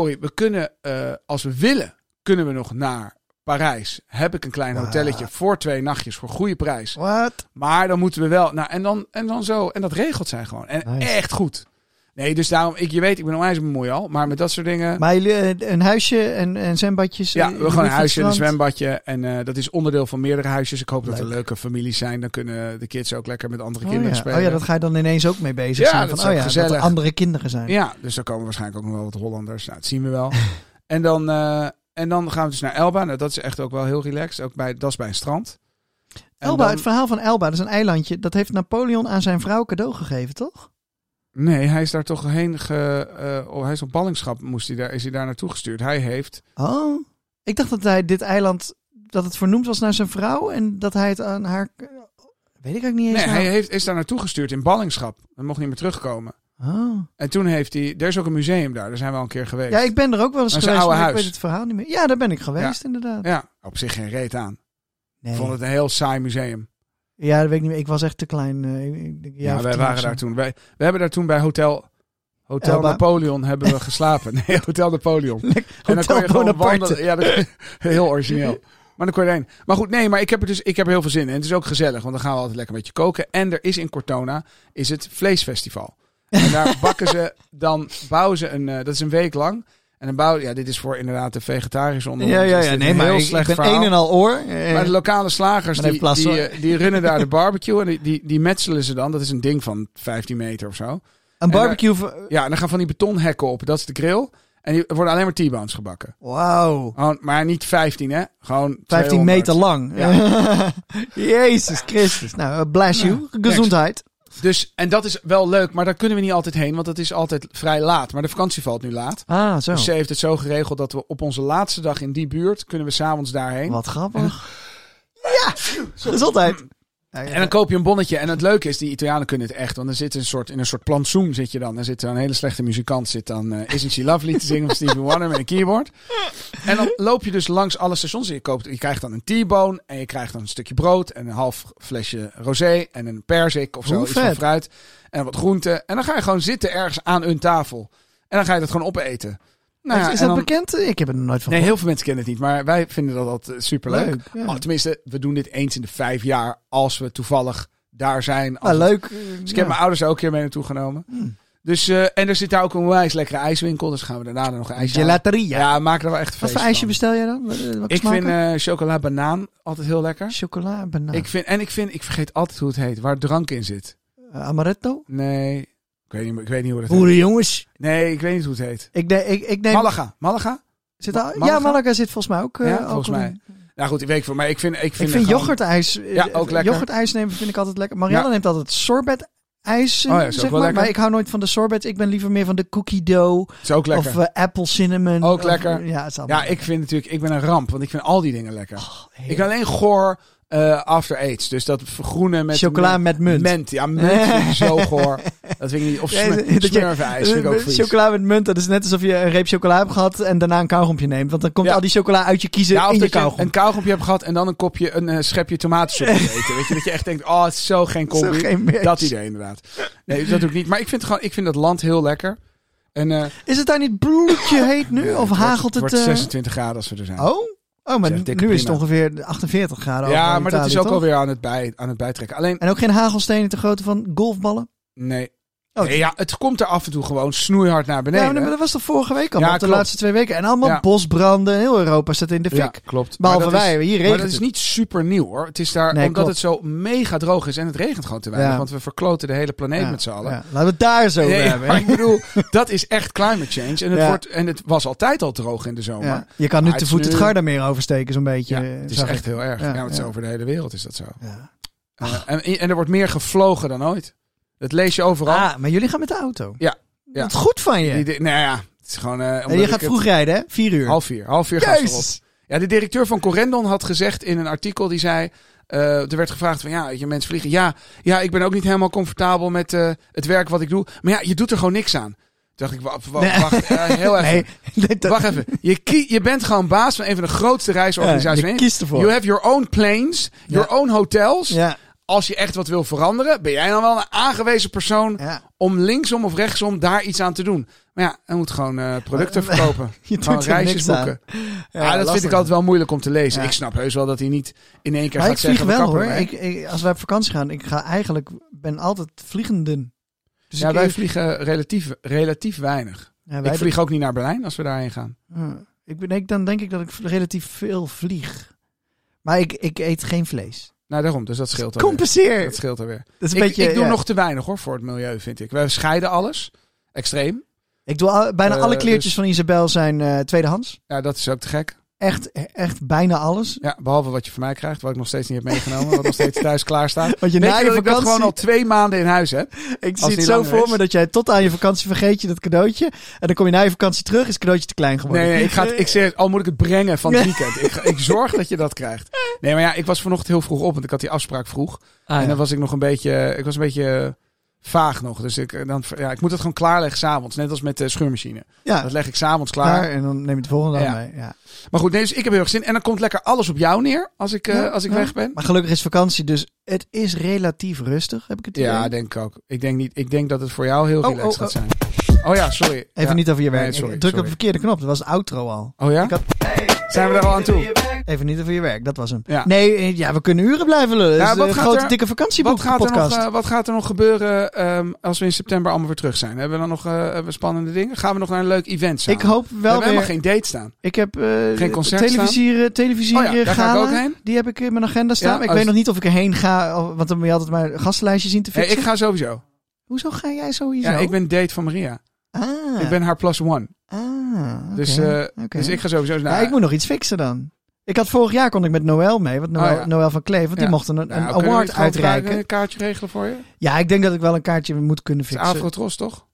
B: Oei, we kunnen, eh, als we willen, kunnen we nog naar Parijs. Heb ik een klein
A: Wow.
B: hotelletje voor twee nachtjes voor goede prijs.
A: Wat?
B: Maar dan moeten we wel... Nou, en dan, en dan zo. En dat regelt zij gewoon. En
A: Nice.
B: echt goed. Nee, dus daarom, ik, je weet, ik ben onwijs mooi al. Maar met dat soort dingen...
A: Maar jullie eh, een huisje en, en zwembadjes? eh,
B: ja, we
A: jullie
B: gaan een
A: op het
B: huisje en een
A: strand?
B: zwembadje. En eh, dat is onderdeel van meerdere huisjes. Ik hoop dat er
A: Leuk.
B: leuke families zijn. Dan kunnen de kids ook lekker met andere
A: Oh
B: kinderen
A: ja.
B: spelen.
A: oh ja, dat ga je dan ineens ook mee bezig
B: Ja,
A: zijn.
B: dat
A: Van,
B: is
A: oh
B: ook
A: ja, dat er
B: gezellig.
A: andere kinderen zijn.
B: Ja, dus daar komen waarschijnlijk ook nog wel wat Hollanders. Nou, dat zien we wel. en, dan, eh, en dan gaan we dus naar Elba. Nou, dat is echt ook wel heel relaxed. Ook bij, dat is bij een strand. En
A: Elba,
B: dan-
A: het verhaal van Elba, dat is een eilandje. Dat heeft Napoleon aan zijn vrouw cadeau gegeven, toch?
B: Nee, hij is daar toch heen. Ge, eh, oh, hij is op ballingschap. Moest hij daar, is hij daar naartoe gestuurd? Hij heeft.
A: Oh. Ik dacht dat hij dit eiland, dat het vernoemd was naar zijn vrouw en dat hij het aan haar... Weet ik ook niet eens.
B: Nee,
A: nou.
B: hij heeft, is daar naartoe gestuurd in ballingschap. Hij mocht niet meer terugkomen.
A: Oh.
B: En toen heeft hij. Er is ook een museum daar. Daar zijn we al een keer geweest.
A: Ja, ik ben er ook wel eens
B: Maar zijn
A: geweest,
B: oude
A: maar ik
B: huis.
A: weet het verhaal niet meer. Ja, daar ben ik geweest, inderdaad.
B: Ja, op zich geen reet aan. Ik
A: Nee.
B: vond het een heel saai museum.
A: Ja, dat weet ik niet meer. Ik was echt te klein. eh, ik- ik- ik-
B: Ja,
A: of
B: wij
A: tien of
B: waren
A: zo.
B: daar toen. Wij, we hebben daar toen bij Hotel, Hotel
A: Elba.
B: Napoleon hebben we geslapen. Nee, Hotel Napoleon. En dan kon je
A: Hotel
B: gewoon
A: Bonaparte.
B: wandelen. Ja, dat- heel origineel. Maar dan kon je erheen. Maar goed, nee, maar ik heb er dus ik heb er heel veel zin in. En het is ook gezellig, want dan gaan we altijd lekker een beetje koken. En er is in Cortona is het vleesfestival. En daar bakken ze, dan bouwen ze een, eh, dat is een week lang. En dan bouwen, ja, dit is voor inderdaad de vegetarische onder.
A: Ja,
B: ons
A: ja,
B: is
A: ja.
B: dit
A: Nee,
B: een
A: maar
B: heel
A: ik, ik
B: slecht
A: ben
B: verhaal.
A: een en al oor. Eh,
B: Maar de lokale slagers,
A: Maar
B: die,
A: nee, plas,
B: die,
A: hoor.
B: eh, die runnen daar de barbecue en die, die, die metselen ze dan. Dat is een ding van 15 meter of zo.
A: een barbecue. voor-
B: Ja, en dan gaan van die betonhekken op, dat is de grill. En die er worden alleen maar T-bones gebakken.
A: Wauw.
B: Gewoon, maar niet 15, hè? Gewoon
A: 15
B: 200.
A: meter lang. Jezus Christus. Nou, eh, bless you. Gezondheid.
B: Dus, en dat is wel leuk, maar daar kunnen we niet altijd heen, want het is altijd vrij laat. Maar de vakantie valt nu laat.
A: Ah, zo.
B: Dus ze heeft het zo geregeld dat we op onze laatste dag in die buurt kunnen we s'avonds daarheen.
A: Wat grappig. Ja, gezondheid. Ja, ja.
B: En dan koop je een bonnetje. En het leuke is, die Italianen kunnen het echt. Want er zit een soort, in een soort plantsoen zit je dan. Er zit een hele slechte muzikant, zit dan eh, Isn't She Lovely te zingen van Stevie Wonder met een keyboard. En dan loop je dus langs alle stations. En Je, koopt, je krijgt dan een T-bone en je krijgt dan een stukje brood en een half flesje rosé en een perzik of zo.
A: Hoe
B: iets van
A: vet.
B: fruit en wat groenten. En dan ga je gewoon zitten ergens aan een tafel. En dan ga je dat gewoon opeten. Nou ja,
A: is
B: en
A: dat
B: dan-
A: bekend? Eh, Ik heb er nog nooit van
B: Nee, heel veel mensen kennen het niet, maar wij vinden dat altijd eh, superleuk.
A: Leuk, ja.
B: Oh, tenminste, we doen dit eens in de vijf jaar als we toevallig daar zijn. Als
A: Ah,
B: het-
A: leuk.
B: Dus ik
A: Ja.
B: heb mijn ouders ook een keer mee naartoe genomen.
A: Hmm.
B: Dus, eh, en er zit daar ook een wijs lekkere ijswinkel, dus gaan we daarna nog een ijsje halen.
A: Gelateria.
B: Ja, we maken er wel echt een
A: Wat
B: feest
A: voor ijsje
B: van.
A: bestel jij dan? Wat- Welke
B: Ik
A: smaken?
B: vind eh chocola banaan altijd heel lekker.
A: Chocola, banaan.
B: Ik vind, en ik vind, ik vergeet altijd hoe het heet, waar drank in zit.
A: Eh, amaretto?
B: Nee, ik weet niet, ik weet niet hoe het heet.
A: Boeren jongens.
B: Nee, ik weet niet hoe het heet.
A: Ik, ne- ik, ik neem...
B: Malaga, Malaga?
A: Zit al-
B: Malaga?
A: Ja, Malaga zit volgens mij ook. eh,
B: Ja, volgens
A: alcohol
B: mij.
A: in.
B: Nou goed, ik weet voor, maar ik vind, ik vind,
A: Ik vind
B: er gewoon-
A: yoghurtijs... Ja,
B: ook lekker.
A: Yoghurtijs nemen vind ik altijd lekker. Marianne
B: Ja.
A: neemt altijd sorbet ijs,
B: Oh ja, is ook wel
A: zeg maar.
B: lekker.
A: Maar ik hou nooit van de sorbet. Ik ben liever meer van de cookie dough.
B: is ook lekker.
A: Of eh, apple cinnamon.
B: Ook
A: Of- eh,
B: lekker.
A: Ja, het is allemaal
B: Ja, ik vind natuurlijk, ik ben een ramp, want ik vind al die dingen lekker.
A: Oh, heerlijk.
B: ik ben alleen goor eh, after aids. Dus dat groene met
A: Chocola met munt.
B: Ment, ja, munt vind ik zo goor. Dat vind ik niet. Of
A: Ja, dat
B: smer,
A: je-
B: smurfijs vind ik ook
A: Eh,
B: vies.
A: Chocola met munt, dat is net alsof je een reep chocola hebt gehad en daarna een kauwgompje neemt. Want dan komt
B: Ja.
A: al die chocola uit je kiezen
B: Ja, of
A: in je
B: dat je
A: kauwgom.
B: een kauwgompje hebt gehad en dan een kopje, een eh, schepje tomatensoep eten. Weet je, dat je echt denkt, oh, het is zo geen combi.
A: Zo geen match.
B: dat idee inderdaad. Nee, dat doe ik niet. Maar ik vind, gewoon, ik vind dat land heel lekker. En, eh,
A: Is het daar niet bloedje heet nu? of hagelt het...
B: wordt,
A: eh,
B: wordt 26 graden als we er zijn.
A: Oh? Oh, maar
B: Zeg,
A: nu
B: dikke
A: is het
B: prima.
A: ongeveer 48 graden.
B: ja,
A: overal in
B: maar dat
A: Italië,
B: is ook
A: toch?
B: alweer aan het, bij, aan het bijtrekken. Alleen,
A: En ook geen hagelstenen te grote van golfballen?
B: nee,
A: Oh,
B: Nee, ja, het komt er af en toe gewoon snoeihard naar beneden.
A: ja, maar dat was toch vorige week al?
B: Ja,
A: want de
B: klopt.
A: laatste twee weken. En allemaal
B: Ja.
A: bosbranden. Heel Europa staat in de fik.
B: Ja, klopt.
A: Behalve
B: Maar dat
A: wij,
B: is-
A: hier
B: Maar
A: regent
B: dat is
A: het.
B: niet super nieuw hoor. Het is daar
A: Nee,
B: omdat
A: klopt.
B: het zo mega droog is en het regent gewoon te weinig.
A: Ja.
B: Want we verkloten de hele planeet
A: Ja,
B: met z'n allen.
A: ja. Laten we het daar zo over
B: Nee,
A: hebben.
B: maar ik bedoel, dat is echt climate change. En het,
A: Ja.
B: wordt, en het was altijd al droog in de zomer.
A: Ja.
B: Ja,
A: Je kan
B: Maar
A: nu
B: het
A: te
B: is
A: voet het
B: nu-
A: Gardameer oversteken, zo'n beetje. eh,
B: het is
A: zag ik.
B: echt heel erg.
A: Ja,
B: Ja, want het
A: ja.
B: is over de hele wereld is dat zo.
A: Ja.
B: Eh, en, en er wordt meer gevlogen dan ooit. Dat lees je overal.
A: Ah, maar jullie gaan met de auto.
B: Ja, ja.
A: Wat goed van je.
B: Die, di- nou ja, het is gewoon... eh,
A: en
B: omdat
A: je
B: ik
A: gaat
B: het-
A: vroeg rijden, hè? Vier uur.
B: Half vier. Half vier gas erop.
A: Jezus.
B: Ja, de directeur van Corendon had gezegd in een artikel, die zei... eh, er werd gevraagd van, ja, weet je, mensen vliegen. Ja, ja, ik ben ook niet helemaal comfortabel met eh, het werk wat ik doe. Maar ja, je doet er gewoon niks aan. Toen dacht ik, wa- wa-
A: Nee.
B: wacht, eh, heel even.
A: Nee, dat-
B: Wacht even. Je, kie- je bent gewoon baas van een van de grootste reisorganisaties.
A: Ja,
B: van
A: je
B: in-
A: kiest ervoor.
B: You have your own planes, your own hotels.
A: Ja,
B: Als je echt wat wil veranderen, ben jij dan wel een aangewezen persoon
A: ja.
B: om linksom of rechtsom daar iets aan te doen. Maar ja, hij moet gewoon eh, producten verkopen.
A: Je doet
B: gewoon
A: er
B: reisjes
A: niks aan.
B: boeken.
A: Ja,
B: Ja, Ah, dat
A: lastig.
B: vind ik altijd wel moeilijk om te lezen.
A: Ja.
B: Ik snap heus wel dat hij niet in één keer
A: Maar ik
B: gaat
A: vlieg wel
B: zeggen... we kappen
A: hoor.
B: ermee.
A: Ik, ik- als wij op vakantie gaan, ik ga eigenlijk, ben altijd vliegenden. Dus
B: ja,
A: ik-
B: wij vliegen relatief, relatief weinig.
A: ja, wij
B: Ik vlieg ook niet naar Berlijn als we daarheen gaan.
A: Ja. Hm. Ik ben, ik, dan denk ik dat ik relatief veel vlieg. Maar ik, ik eet geen vlees.
B: Nou, daarom. Dus dat scheelt alweer.
A: Compenseer!
B: Dat scheelt alweer.
A: eh, Dat is een
B: Ik,
A: beetje,
B: ik doe
A: ja.
B: nog te weinig hoor voor het milieu, vind ik. We scheiden alles. Extreem.
A: ik doe al- bijna
B: Eh,
A: alle kleertjes
B: dus-
A: van Isabel zijn eh, tweedehands.
B: Ja, dat is ook te gek.
A: Echt, e- echt bijna alles.
B: Ja, behalve wat je van mij krijgt, wat ik nog steeds niet heb meegenomen. wat nog steeds thuis klaar staat.
A: Want je
B: Weet
A: na
B: je
A: je
B: dat ik dat
A: vakantie-
B: gewoon al twee maanden in huis heb?
A: Ik
B: Als
A: zie het
B: die
A: zo
B: langer
A: voor
B: is.
A: me dat jij tot aan je vakantie vergeet je dat cadeautje. En dan kom je na je vakantie terug, is het cadeautje te klein geworden.
B: Nee, nee, ik, ga het, ik zeg, al moet ik het brengen van het weekend. Ik, ga- ik zorg dat je dat krijgt. Nee, maar ja, ik was vanochtend heel vroeg op, want ik had die afspraak vroeg.
A: Ah,
B: En
A: ja.
B: dan was ik nog een beetje, ik was een beetje eh, vaag nog. Dus ik, eh, dan, ja, ik moet het gewoon klaarleggen s'avonds. Net als met de schuurmachine.
A: Ja,
B: Dat leg ik s'avonds klaar.
A: klaar. En dan neem je het volgende
B: Ja.
A: aan mee. Ja.
B: Maar goed, nee, dus ik heb heel erg zin. En dan komt lekker alles op jou neer als ik, eh,
A: Ja,
B: als ik
A: ja.
B: weg ben.
A: Maar gelukkig is vakantie, dus het is relatief rustig, heb ik het idee.
B: Ja, denk ik ook. Ik denk, niet, ik denk dat het voor jou heel
A: Oh,
B: relaxed
A: oh,
B: gaat zijn. Oh ja, sorry.
A: Even
B: Ja.
A: niet over je werk.
B: Nee, sorry,
A: ik druk op
B: sorry.
A: de verkeerde knop, dat was de outro al.
B: Oh ja?
A: Ik had-
B: Zijn we daar al aan toe?
A: Even niet over je werk, dat was hem.
B: Ja.
A: Nee, eh, ja, we kunnen uren blijven lullen.
B: Ja,
A: Dat is
B: wat
A: een
B: gaat
A: grote
B: er-
A: dikke
B: Wat gaat, er nog,
A: vakantieboekpodcast.
B: eh, wat gaat er nog gebeuren ehm, als we in september allemaal weer terug zijn? Hebben we dan nog eh, hebben we spannende dingen? Gaan we nog naar een leuk event samen?
A: Ik hoop
B: we
A: wel
B: hebben
A: weer...
B: helemaal geen date staan.
A: Ik heb eh
B: concert
A: televisieren, televisieren
B: Oh ja, daar ga ik
A: gala,
B: ook heen.
A: Die heb ik in mijn agenda staan.
B: Ja,
A: maar ik
B: als-
A: weet nog niet of ik erheen ga, of- want dan moet je altijd maar een gastenlijstje zien te
B: Nee,
A: fixen.
B: ik ga sowieso.
A: Hoezo ga jij sowieso?
B: Ja, ik ben date van Maria.
A: Ah,
B: Ik ben haar plus one.
A: ah, oké.
B: Dus, eh,
A: oké.
B: dus ik ga sowieso
A: ja,
B: naar...
A: ik moet nog iets fixen dan. Ik had vorig jaar kon ik met Noël mee, want Noël,
B: Oh ja.
A: Noël van Kleef, want die
B: Ja.
A: mocht een, een
B: Nou, kunnen we
A: award
B: niet gewoon
A: uitreiken.
B: Een kaartje regelen voor je? Het
A: Ja, ik denk dat ik wel een kaartje moet kunnen
B: is
A: fixen.
B: Afrotros, toch?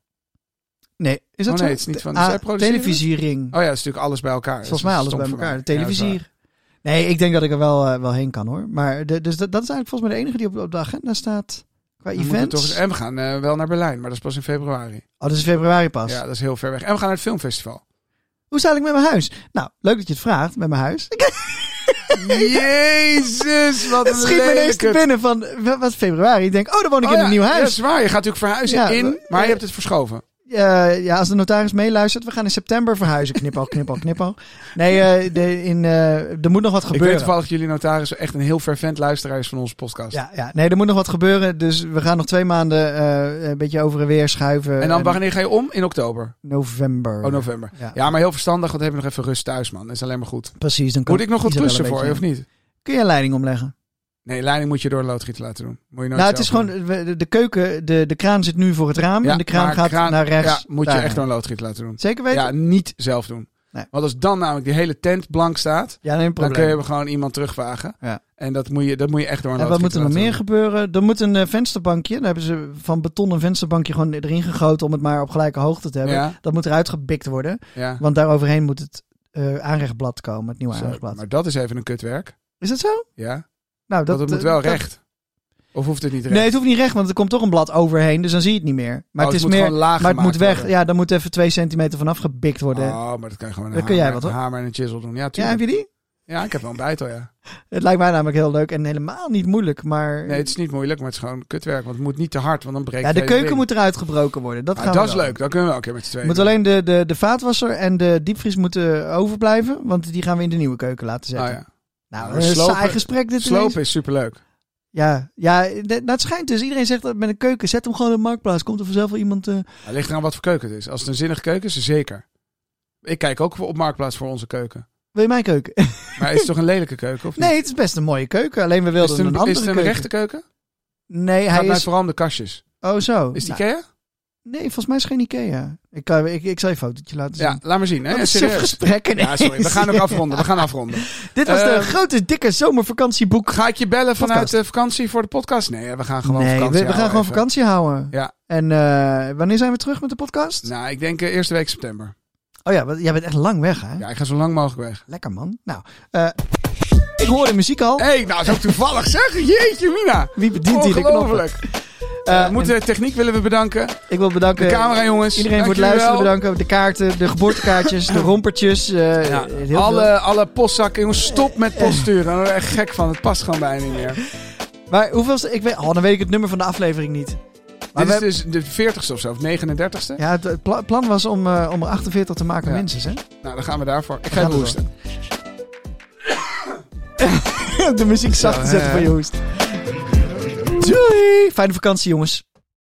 A: Nee, is dat
B: Oh,
A: zo?
B: nee, het is niet van-
A: Ah,
B: zij produceren het?
A: televisiering.
B: Oh ja, dat is natuurlijk alles bij elkaar.
A: Volgens mij
B: Dat is
A: alles bij
B: stom van
A: elkaar. De
B: mij. Ja, dat is
A: televisie.
B: waar.
A: nee, ik denk dat ik er wel, eh, wel heen kan hoor. Maar de, dus dat, dat is eigenlijk volgens mij de enige die op, op de agenda staat. Qua
B: Dan moeten we
A: events.
B: toch eens- en we gaan eh, wel naar Berlijn, maar dat is pas in februari.
A: Oh, dat is februari pas.
B: Ja, dat is heel ver weg. En we gaan naar het filmfestival.
A: Hoe sta ik met mijn huis? Nou, leuk dat je het vraagt met mijn huis. Ik
B: Jezus, wat een
A: schiet me ineens te
B: lelijke
A: binnen van eh, wat februari. Ik denk, oh, dan woon ik
B: Oh
A: in
B: ja,
A: een nieuw
B: Ja,
A: huis.
B: is waar. Je gaat natuurlijk verhuizen
A: Ja,
B: in,
A: we-
B: maar je hebt het verschoven.
A: Eh, ja, als de notaris meeluistert, we gaan in september verhuizen. Knippel, knippel, knippel. Nee, eh, de, in, eh, er moet nog wat
B: Ik weet
A: gebeuren.
B: toevallig dat jullie notaris echt een heel fervent luisteraar is van onze podcast.
A: ja, ja, nee, er moet nog wat gebeuren. Dus we gaan nog twee maanden eh, een beetje over en weer schuiven.
B: en dan wanneer ga je om? In oktober.
A: eh, november.
B: Oh, november.
A: Ja.
B: Ja. maar heel verstandig, want dan hebben we nog even rust thuis, man. Dat is alleen maar goed.
A: Precies, dan kan
B: Moet ik nog wat
A: Isabel een
B: klussen voor je, of
A: beetje-
B: niet?
A: Kun je een leiding omleggen?
B: Nee, leiding moet je door een loodgieter laten doen. Moet je nooit
A: nou, het is
B: zelf doen.
A: gewoon we- de, de keuken, de, de kraan zit nu voor het raam
B: Ja,
A: en de kraan
B: maar
A: gaat
B: kraan-
A: naar rechts.
B: Ja, moet je
A: Daar.
B: echt door een loodgieter laten doen.
A: Zeker weten?
B: Ja, niet zelf doen.
A: Nee.
B: Want als dan namelijk die hele tent blank staat,
A: Ja, nee,
B: dan kun
A: probleem.
B: je er gewoon iemand terugvagen.
A: Ja.
B: En dat moet, je, dat moet je echt door een
A: En wat moet
B: loodgieter
A: er nog
B: laten
A: meer
B: doen.
A: gebeuren? Er moet een eh, vensterbankje. Daar hebben ze van beton een vensterbankje gewoon erin gegoten om het maar op gelijke hoogte te hebben.
B: Ja.
A: Dat moet eruit gebikt worden,
B: Ja.
A: want daaroverheen moet het eh, aanrechtblad komen, het nieuwe
B: Zo,
A: aanrechtblad.
B: maar dat is even een kutwerk.
A: Is dat zo?
B: Ja.
A: Nou,
B: Dat, Want het moet
A: eh,
B: wel
A: dat-
B: recht. Of hoeft het niet recht?
A: Nee, het hoeft niet recht, want er komt toch een blad overheen, dus dan zie je het niet meer. Maar
B: Oh,
A: het is
B: moet
A: meer,
B: gewoon laag
A: maar het
B: gemaakt
A: moet weg.
B: worden.
A: Ja, dan moet even twee centimeter vanaf gebikt worden.
B: Oh, maar dat kan je gewoon met
A: Dan
B: een
A: kun jij
B: hamer,
A: wat, hoor.
B: een hamer en een chisel doen. Ja,
A: ja, heb
B: tuurlijk. Ja,
A: je die?
B: ik heb wel een bijtel, ja.
A: Het lijkt mij namelijk heel leuk en helemaal niet moeilijk, maar...
B: Nee, het is niet moeilijk, maar het is gewoon kutwerk. Want het moet niet te hard, want dan breekt
A: ja, de
B: het hele
A: keuken
B: ding.
A: moet eruit gebroken worden. Dat,
B: Ah,
A: gaan we
B: dat is
A: wel.
B: leuk, dat kunnen we ook keer met z'n tweeën.
A: Moet
B: doen.
A: alleen de, de, de vaatwasser en de diepvries moeten overblijven, want die gaan we in de nieuwe keuken laten zetten.
B: Ah, ja.
A: Nou,
B: Maar
A: een
B: slopen-
A: saai gesprek dit
B: Slopen
A: ineens.
B: is superleuk.
A: Ja, ja de- nou, het schijnt dus. Iedereen zegt dat met een keuken. Zet hem gewoon in de marktplaats. Komt er vanzelf wel iemand. eh,
B: Het ligt eraan wat voor keuken het is. Als het een zinnige keuken is, zeker. Ik kijk ook op Marktplaats voor onze keuken.
A: wil je mijn keuken?
B: Maar is het toch een lelijke keuken? Of niet?
A: Nee, het is best een mooie keuken. Alleen we
B: is
A: wilden
B: het
A: een,
B: een, is
A: andere
B: het een
A: keuken.
B: rechte keuken?
A: Nee,
B: Hij gaat
A: hij
B: mij
A: is.
B: vooral om de kastjes.
A: Oh, zo.
B: Is die
A: Nou,
B: Ikea?
A: nee, volgens mij is het geen Ikea. Ik, kan, ik, ik zal je een fotootje laten zien.
B: Ja, laat maar zien. Hè?
A: Wat een suf
B: Serieus.
A: gesprek ineens.
B: Ja, sorry. We gaan ook afronden. We gaan afronden.
A: Dit was de
B: Eh,
A: grote, dikke zomervakantieboek.
B: Ga ik je bellen vanuit
A: Podcast.
B: de vakantie voor de podcast? Nee, we gaan gewoon
A: nee, we,
B: vakantie
A: we gaan
B: houden
A: gewoon
B: even.
A: vakantie houden.
B: Ja.
A: En eh, wanneer zijn we terug met de podcast?
B: Nou, ik denk eh, eerste week september.
A: Oh ja, want jij bent echt lang weg, hè?
B: Ja, ik ga zo lang mogelijk weg.
A: Lekker, man. Nou, eh, ik hoor de muziek al.
B: Hé, hey, nou, zo toevallig zeg. Jeetje, Mina.
A: Wie bedient hier de knoppen?
B: Ongelooflijk.
A: Eh,
B: We moeten de techniek willen we
A: en
B: bedanken.
A: Ik wil bedanken
B: De camera, jongens.
A: Eh, iedereen voor het
B: Dank jullie
A: luisteren.
B: wel.
A: Bedanken. De kaarten, de geboortekaartjes, de rompertjes. eh, heel veel.
B: Ja, alle, alle postzakken, jongens, stop met poststuren. Daar word ik echt gek van. Het past gewoon bijna niet meer.
A: Maar hoeveel... Ik weet, oh, dan weet ik het nummer van de aflevering niet. Maar
B: Dit
A: we,
B: is dus de 40ste of zo, of 39ste.
A: ja, het- het pla- plan was om, eh, om er 48 te maken
B: Ja.
A: mensen, hè?
B: Nou, dan gaan we daarvoor. Ik ga
A: Gaan
B: even
A: we
B: hoesten.
A: de muziek zacht te
B: Zo,
A: zetten
B: hè.
A: voor je hoest. Doei! Fijne vakantie, jongens.